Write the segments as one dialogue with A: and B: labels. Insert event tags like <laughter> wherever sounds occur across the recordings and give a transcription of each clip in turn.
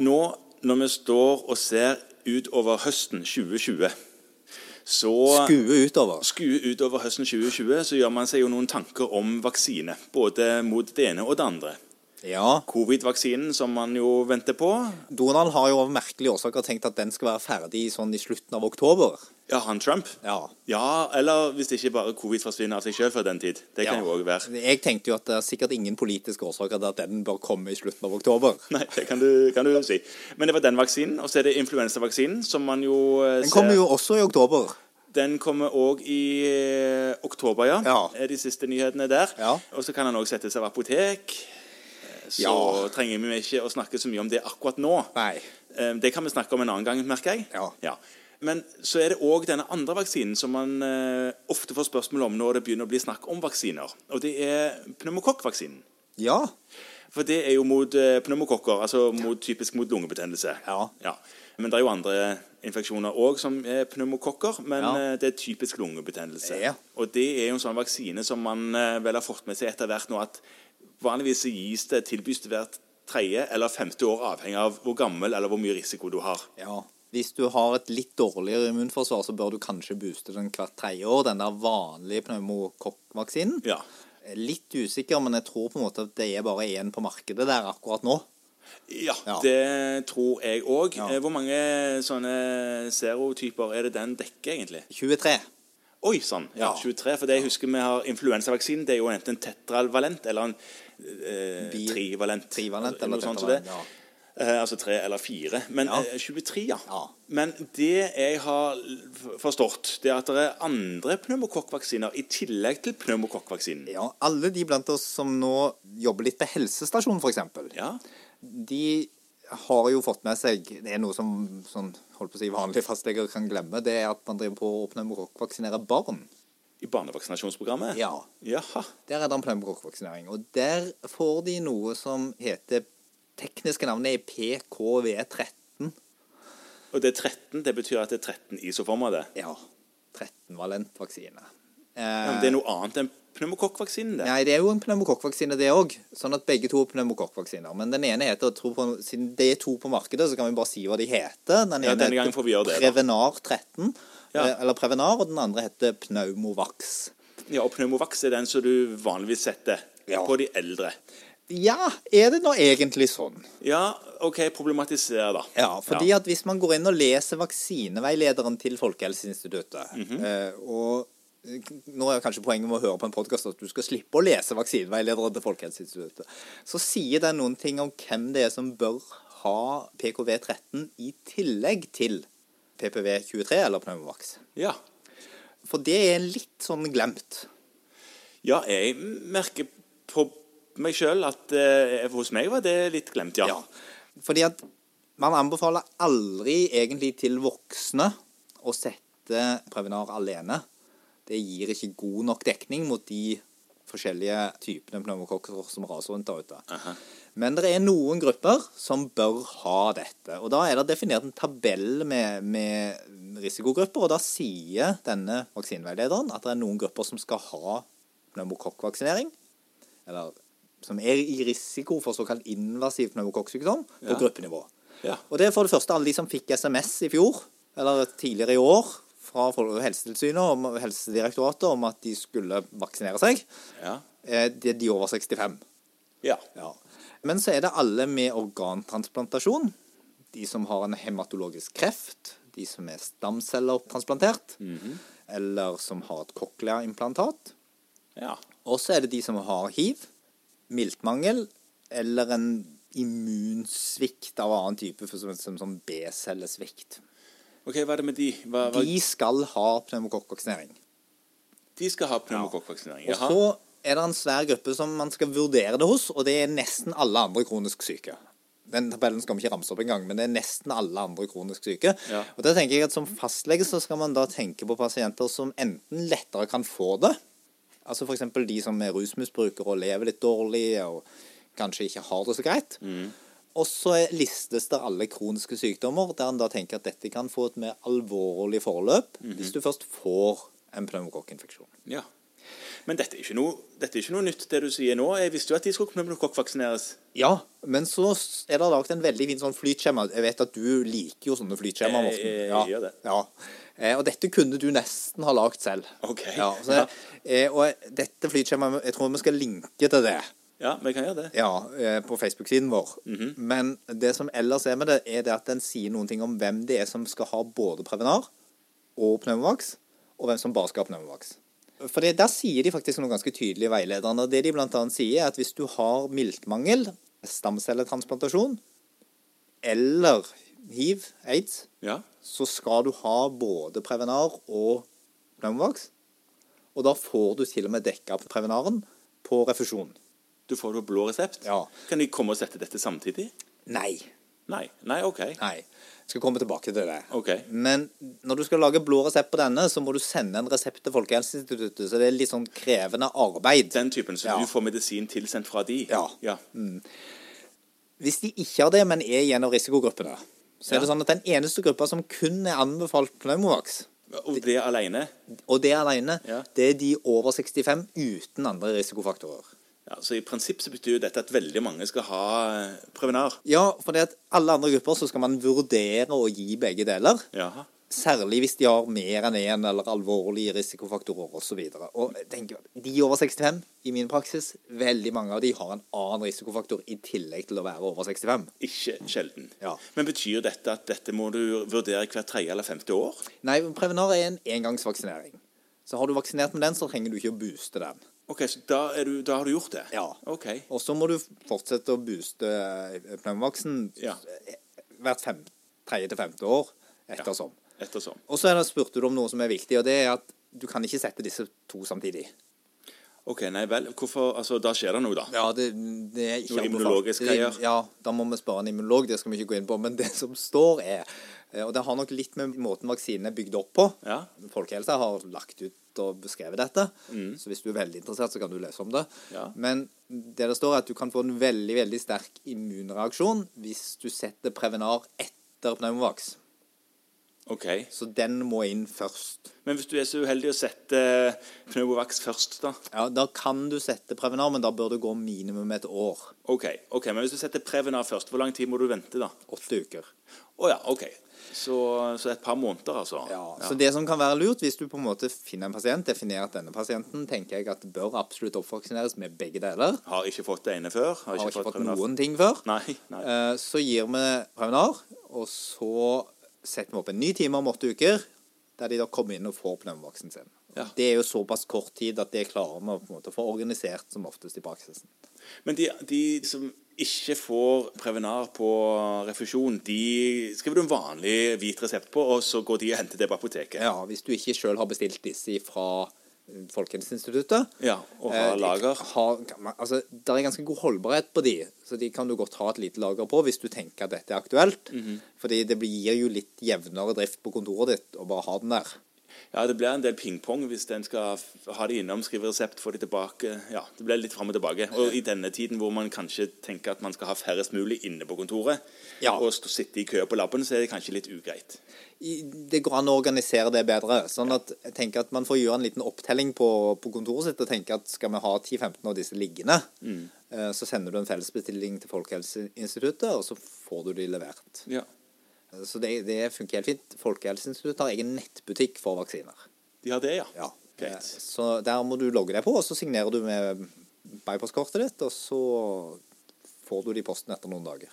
A: nå når vi står og ser utover høsten 2020, så
B: Skue utover.
A: skue utover høsten 2020, så gjør man seg jo noen tanker om vaksine. Både mot det ene og det andre.
B: Ja.
A: Covid-vaksinen, som man jo venter på,
B: Donald har jo av merkelige årsaker tenkt at den skal være ferdig sånn i slutten av oktober.
A: ja, han Trump.
B: Ja.
A: Ja, eller hvis ikke bare covid forsvinner av seg sjøl før den tid. Det kan
B: Ja.
A: jo òg være.
B: Jeg tenkte jo at det er sikkert ingen politiske årsaker til at den bør komme i slutten av oktober.
A: Nei, det kan du, kan du si. Men det var den vaksinen. Og så er det influensavaksinen, som man jo eh,
B: Den
A: ser-
B: kommer jo også i oktober.
A: Den kommer òg i eh, oktober, ja.
B: Ja.
A: Er De siste nyhetene der.
B: Ja.
A: Og så kan han òg settes av apotek. Eh, Så
B: Ja.
A: trenger vi ikke å snakke så mye om det akkurat nå.
B: Nei.
A: Eh, Det kan vi snakke om en annen gang, merker jeg.
B: Ja.
A: Men så er det òg denne andre vaksinen som man eh, ofte får spørsmål om når det begynner å bli snakk om vaksiner. Og det er pneumokokkvaksinen.
B: Ja.
A: For det er jo mot eh, pneumokokker, altså mot, typisk mot lungebetennelse.
B: Ja.
A: Men det er jo andre infeksjoner òg som er pneumokokker, men
B: Ja.
A: eh, det er typisk lungebetennelse.
B: Ja.
A: Og det er jo en sånn vaksine som man eh, vel har fått med seg etter hvert nå, at vanligvis så gis det tilbys det hvert tredje eller femte år, avhengig av hvor gammel eller hvor mye risiko du har.
B: ja. Hvis du har et litt dårligere immunforsvar, så bør du kanskje booste den hvert tredje år, den der vanlige pneumokokkvaksinen.
A: Ja.
B: Litt usikker, men jeg tror på en måte at det er bare én på markedet der akkurat nå.
A: Ja,
B: Ja.
A: det tror jeg òg.
B: Ja.
A: Hvor mange sånne serotyper er det den dekker, egentlig?
B: 23.
A: Oi sann! Ja,
B: Ja.
A: 23. For det jeg husker vi har influensavaksinen, det er jo enten tetralvalent eller en eh,
B: Bi-
A: trivalent.
B: Trivalent eller
A: Noe sånt som
B: tetravalent,
A: det.
B: ja.
A: Eh, altså tre eller fire. Men
B: Ja.
A: eh, 23, ja.
B: Ja.
A: Men det jeg har l- f- forstått, det er at det er andre pneumokokkvaksiner i tillegg til pneumokokkvaksinen.
B: Ja, alle de blant oss som nå jobber litt på helsestasjonen, f.eks.
A: Ja.
B: de har jo fått med seg Det er noe som sånn, holdt på å si, vanlige fastleger kan glemme. Det er at man driver på å pneumokokkvaksinere barn.
A: I barnevaksinasjonsprogrammet?
B: Ja.
A: Jaha.
B: Der er det en pneumokokkvaksinering. Og der får de noe som heter Tekniske navnet er E PKV13.
A: Og det er 13, det betyr at det er 13 isoformer, det.
B: Ja. Eh, 13-valent vaksine.
A: Ja, men det er noe annet enn pneumokokkvaksinen, det.
B: Nei, det er jo en pneumokokkvaksine, det òg. Sånn at begge to er pneumokokkvaksiner. Men den ene heter, jeg tror på, siden det er to på markedet, så kan vi bare si hva de heter. Den
A: Ja,
B: ene
A: denne gangen
B: heter
A: får vi gjøre det, da.
B: Prevenar 13,
A: Ja.
B: eh, eller Prevenar, og den andre heter Pneumovax.
A: Ja, og pneumovax er den som du vanligvis setter
B: Ja.
A: på de eldre.
B: Ja, er det nå egentlig sånn?
A: Ja, OK, problematiser, da.
B: Ja, fordi at hvis man går inn og leser vaksineveilederen til Folkehelseinstituttet eh, Og eh, nå er kanskje poenget med å høre på en podkast at du skal slippe å lese vaksineveilederen til Folkehelseinstituttet. Så sier den noen ting om hvem det er som bør ha PKV13 i tillegg til PPV23 eller pneumovax.
A: Ja.
B: For det er litt sånn glemt.
A: ja, jeg merker på meg sjøl at eh, hos meg var det litt glemt, ja.
B: Ja. Fordi at man anbefaler aldri egentlig til voksne å sette Prevenar alene. Det gir ikke god nok dekning mot de forskjellige typene pneumokokker som raser rundt der ute. Men det er noen grupper som bør ha dette. Og da er det definert en tabell med, med risikogrupper, og da sier denne vaksineveilederen at det er noen grupper som skal ha pneumokokkvaksinering, eller som er i risiko for såkalt invasiv pneumokokksykdom på
A: Ja.
B: gruppenivå.
A: Ja.
B: Og det er for det første alle de som fikk SMS i fjor, eller tidligere i år, fra Fol- Helsetilsynet og Helsedirektoratet om at de skulle vaksinere seg.
A: Ja.
B: Eh, Det er de over 65.
A: ja.
B: Ja. Men så er det alle med organtransplantasjon. De som har en hematologisk kreft. De som er stamceller transplantert.
A: Mhm.
B: Eller som har et cochlea-implantat.
A: ja.
B: Og så er det de som har hiv, miltmangel eller en immunsvikt av annen type, for som, som, som B-cellesvikt.
A: OK, hva er det med de? Hva, hva?
B: De skal ha pneumokokkvaksinering.
A: De skal ha pneumokokkvaksinering.
B: Og
A: Jaha.
B: så er det en svær gruppe som man skal vurdere det hos, og det er nesten alle andre kronisk syke. Den tabellen skal vi ikke ramse opp engang, men det er nesten alle andre kronisk syke.
A: Ja.
B: Og da tenker jeg at Som fastlege så skal man da tenke på pasienter som enten lettere kan få det, altså f.eks. de som er rusmisbrukere og lever litt dårlig og kanskje ikke har det så greit.
A: Mm.
B: Og så er- listes det alle kroniske sykdommer der en da tenker at dette kan
A: Mhm.
B: få et mer alvorlig forløp hvis du først får en pneumokokkinfeksjon.
A: Ja. Men dette er, ikke noe, dette er ikke noe nytt, det du sier nå. Jeg visste jo at de skulle pneumokokkvaksineres.
B: Ja, men så s- er det laget en veldig fin sånn flytskjema. Jeg vet at du liker jo sånne flytskjemaer,
A: Jeg- jeg- jeg gjør det.
B: Ja. Eh, Og dette kunne du nesten ha lagd selv.
A: Ok.
B: Ja, så, eh, Og dette flytskjemaet, jeg tror vi skal linke til det
A: Ja, vi kan gjøre det.
B: ja, eh, på Facebook-siden vår. Men det som ellers er med det, er det at den sier noen ting om hvem det er som skal ha både Prevenar og pneumovax, og hvem som bare skal ha pneumovax. For det, Der sier de faktisk noe ganske tydelig i veilederen. og Det de bl.a. sier, er at hvis du har miltmangel, stamcelletransplantasjon eller hiv, aids,
A: Ja.
B: så skal du ha både Prevenar og pneumovax. Og da får du til og med dekka Prevenaren på refusjon.
A: Du får jo blå resept.
B: Ja.
A: Kan de komme og sette dette samtidig?
B: Nei.
A: Nei. Nei, OK.
B: Nei. Jeg skal komme tilbake til det.
A: Ok.
B: Men når du skal lage blå resept på denne, så må du sende en resept til Folkehelseinstituttet. Så det er litt sånn krevende arbeid.
A: Den typen. Så
B: Ja.
A: du får medisin tilsendt fra de?
B: Ja.
A: ja.
B: Hvis de ikke har det, men er i en av risikogruppene, så
A: Ja.
B: er det sånn at den eneste gruppa som kun er anbefalt pneumovax,
A: Og det alene?
B: og det alene,
A: Ja.
B: det er de over 65 uten andre risikofaktorer.
A: Ja, så I prinsipp så betyr jo dette at veldig mange skal ha eh, Prevenar.
B: Ja, for det at alle andre grupper så skal man vurdere å gi begge deler.
A: Jaha.
B: Særlig hvis de har mer enn én eller alvorlige risikofaktorer osv. Og jeg tenker at de over 65, i min praksis, veldig mange av de har en annen risikofaktor i tillegg til å være over 65.
A: Ikke sjelden.
B: Ja.
A: Men betyr dette at dette må du vurdere hvert tredje eller femte år?
B: Nei, Prevenar er en engangsvaksinering. Så har du vaksinert med den, så trenger du ikke å booste den.
A: Ok, så Da, er du, da har du gjort det?
B: Ja.
A: Ok.
B: Og så må du fortsette å booste eh, pneumovaxen
A: Ja.
B: hvert fem, tredje til femte år
A: Ja.
B: ettersom.
A: Ettersom.
B: Og så er det- spurte du om noe som er viktig, og det er at du kan ikke sette disse to samtidig.
A: Ok, nei vel. Hvorfor, altså, Da skjer det noe, da.
B: Ja, det, det er ikke
A: Noe
B: anbefalt.
A: immunologisk
B: Det-
A: greier.
B: Ja, da må vi spørre en immunolog, det skal vi ikke gå inn på. Men det <laughs> som står er, eh, og det har nok litt med måten vaksinen er bygd opp på
A: Ja.
B: Folkehelsa har lagt ut og beskrevet dette, så hvis du er veldig interessert, så kan du lese om det.
A: Mm. Ja.
B: Men det det står er at du kan få en veldig, veldig sterk immunreaksjon hvis du setter Prevenar etter pneumovax.
A: Ok.
B: Så den må inn først.
A: Men hvis du er så uheldig å sette eh, Pneumovax først, da?
B: Ja, Da kan du sette Prevenar, men da bør du gå minimum et år.
A: Ok, ok, Men hvis du setter Prevenar først, hvor lang tid må du vente, da?
B: Åtte uker.
A: Å ja, ok. Så, så et par måneder, altså?
B: Ja, så Det som kan være lurt, hvis du på en måte finner en pasient, definerer at denne pasienten tenker jeg at bør absolutt oppvaksineres med begge deler,
A: Har ikke fått det ene før?
B: har ikke fått
A: Prevenar-
B: noen ting før,
A: Nei, nei.
B: eh, så gir vi Prevenar, og så setter vi opp en ny time om åtte uker, der de da kommer inn og får pneumovaksen sin.
A: Ja.
B: Det er jo såpass kort tid at det klarer vi å på en måte få organisert som oftest i praksisen.
A: Men de, de som ikke får Prevenar på refusjon, de skriver du en vanlig hvit resept på, og så går de og henter det på apoteket.
B: Ja, Hvis du ikke sjøl har bestilt disse fra eh, Folkehelseinstituttet,
A: Ja, og har
B: Eh,
A: lager.
B: Har, kan man- altså, det er ganske god holdbarhet på de, så de kan du godt ha et lite lager på hvis du tenker at dette er aktuelt.
A: Mhm.
B: Fordi det blir- gir jo litt jevnere drift på kontoret ditt å bare ha den der.
A: Ja, det blir en del pingpong hvis en skal f- ha det innom, skrive resept, få det tilbake. Ja, det blir litt fram og tilbake. Og i denne tiden hvor man kanskje tenker at man skal ha færrest mulig inne på kontoret,
B: Ja.
A: og stå, sitte i kø på laben, så er det kanskje litt ugreit.
B: I- Det går an å organisere det bedre. Sånn at jeg tenker at man får gjøre en liten opptelling på, på kontoret sitt og tenke at skal vi ha 10-15 av disse liggende,
A: Mm.
B: eh, så sender du en fellesbestilling til Folkehelseinstituttet, og så får du de levert.
A: Ja.
B: Eh, Så det, det funker helt fint. Folkehelseinstituttet har egen nettbutikk for vaksiner.
A: De har det, ja.
B: Ja.
A: Greit.
B: Eh, Så der må du logge deg på, og så signerer du med bypostkortet ditt, og så får du det i posten etter noen dager.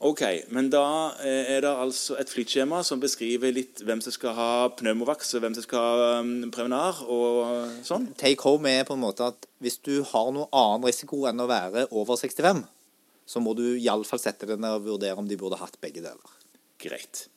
A: Ok, men da eh, er det altså et flytskjema som beskriver litt hvem som skal ha pneumovax, og hvem som skal ha um, Prevenar og eh, sånn.
B: Take home er på en måte at hvis du har noe annen risiko enn å være over 65, så må du iallfall sette deg ned og vurdere om de burde hatt begge deler.
A: Greit.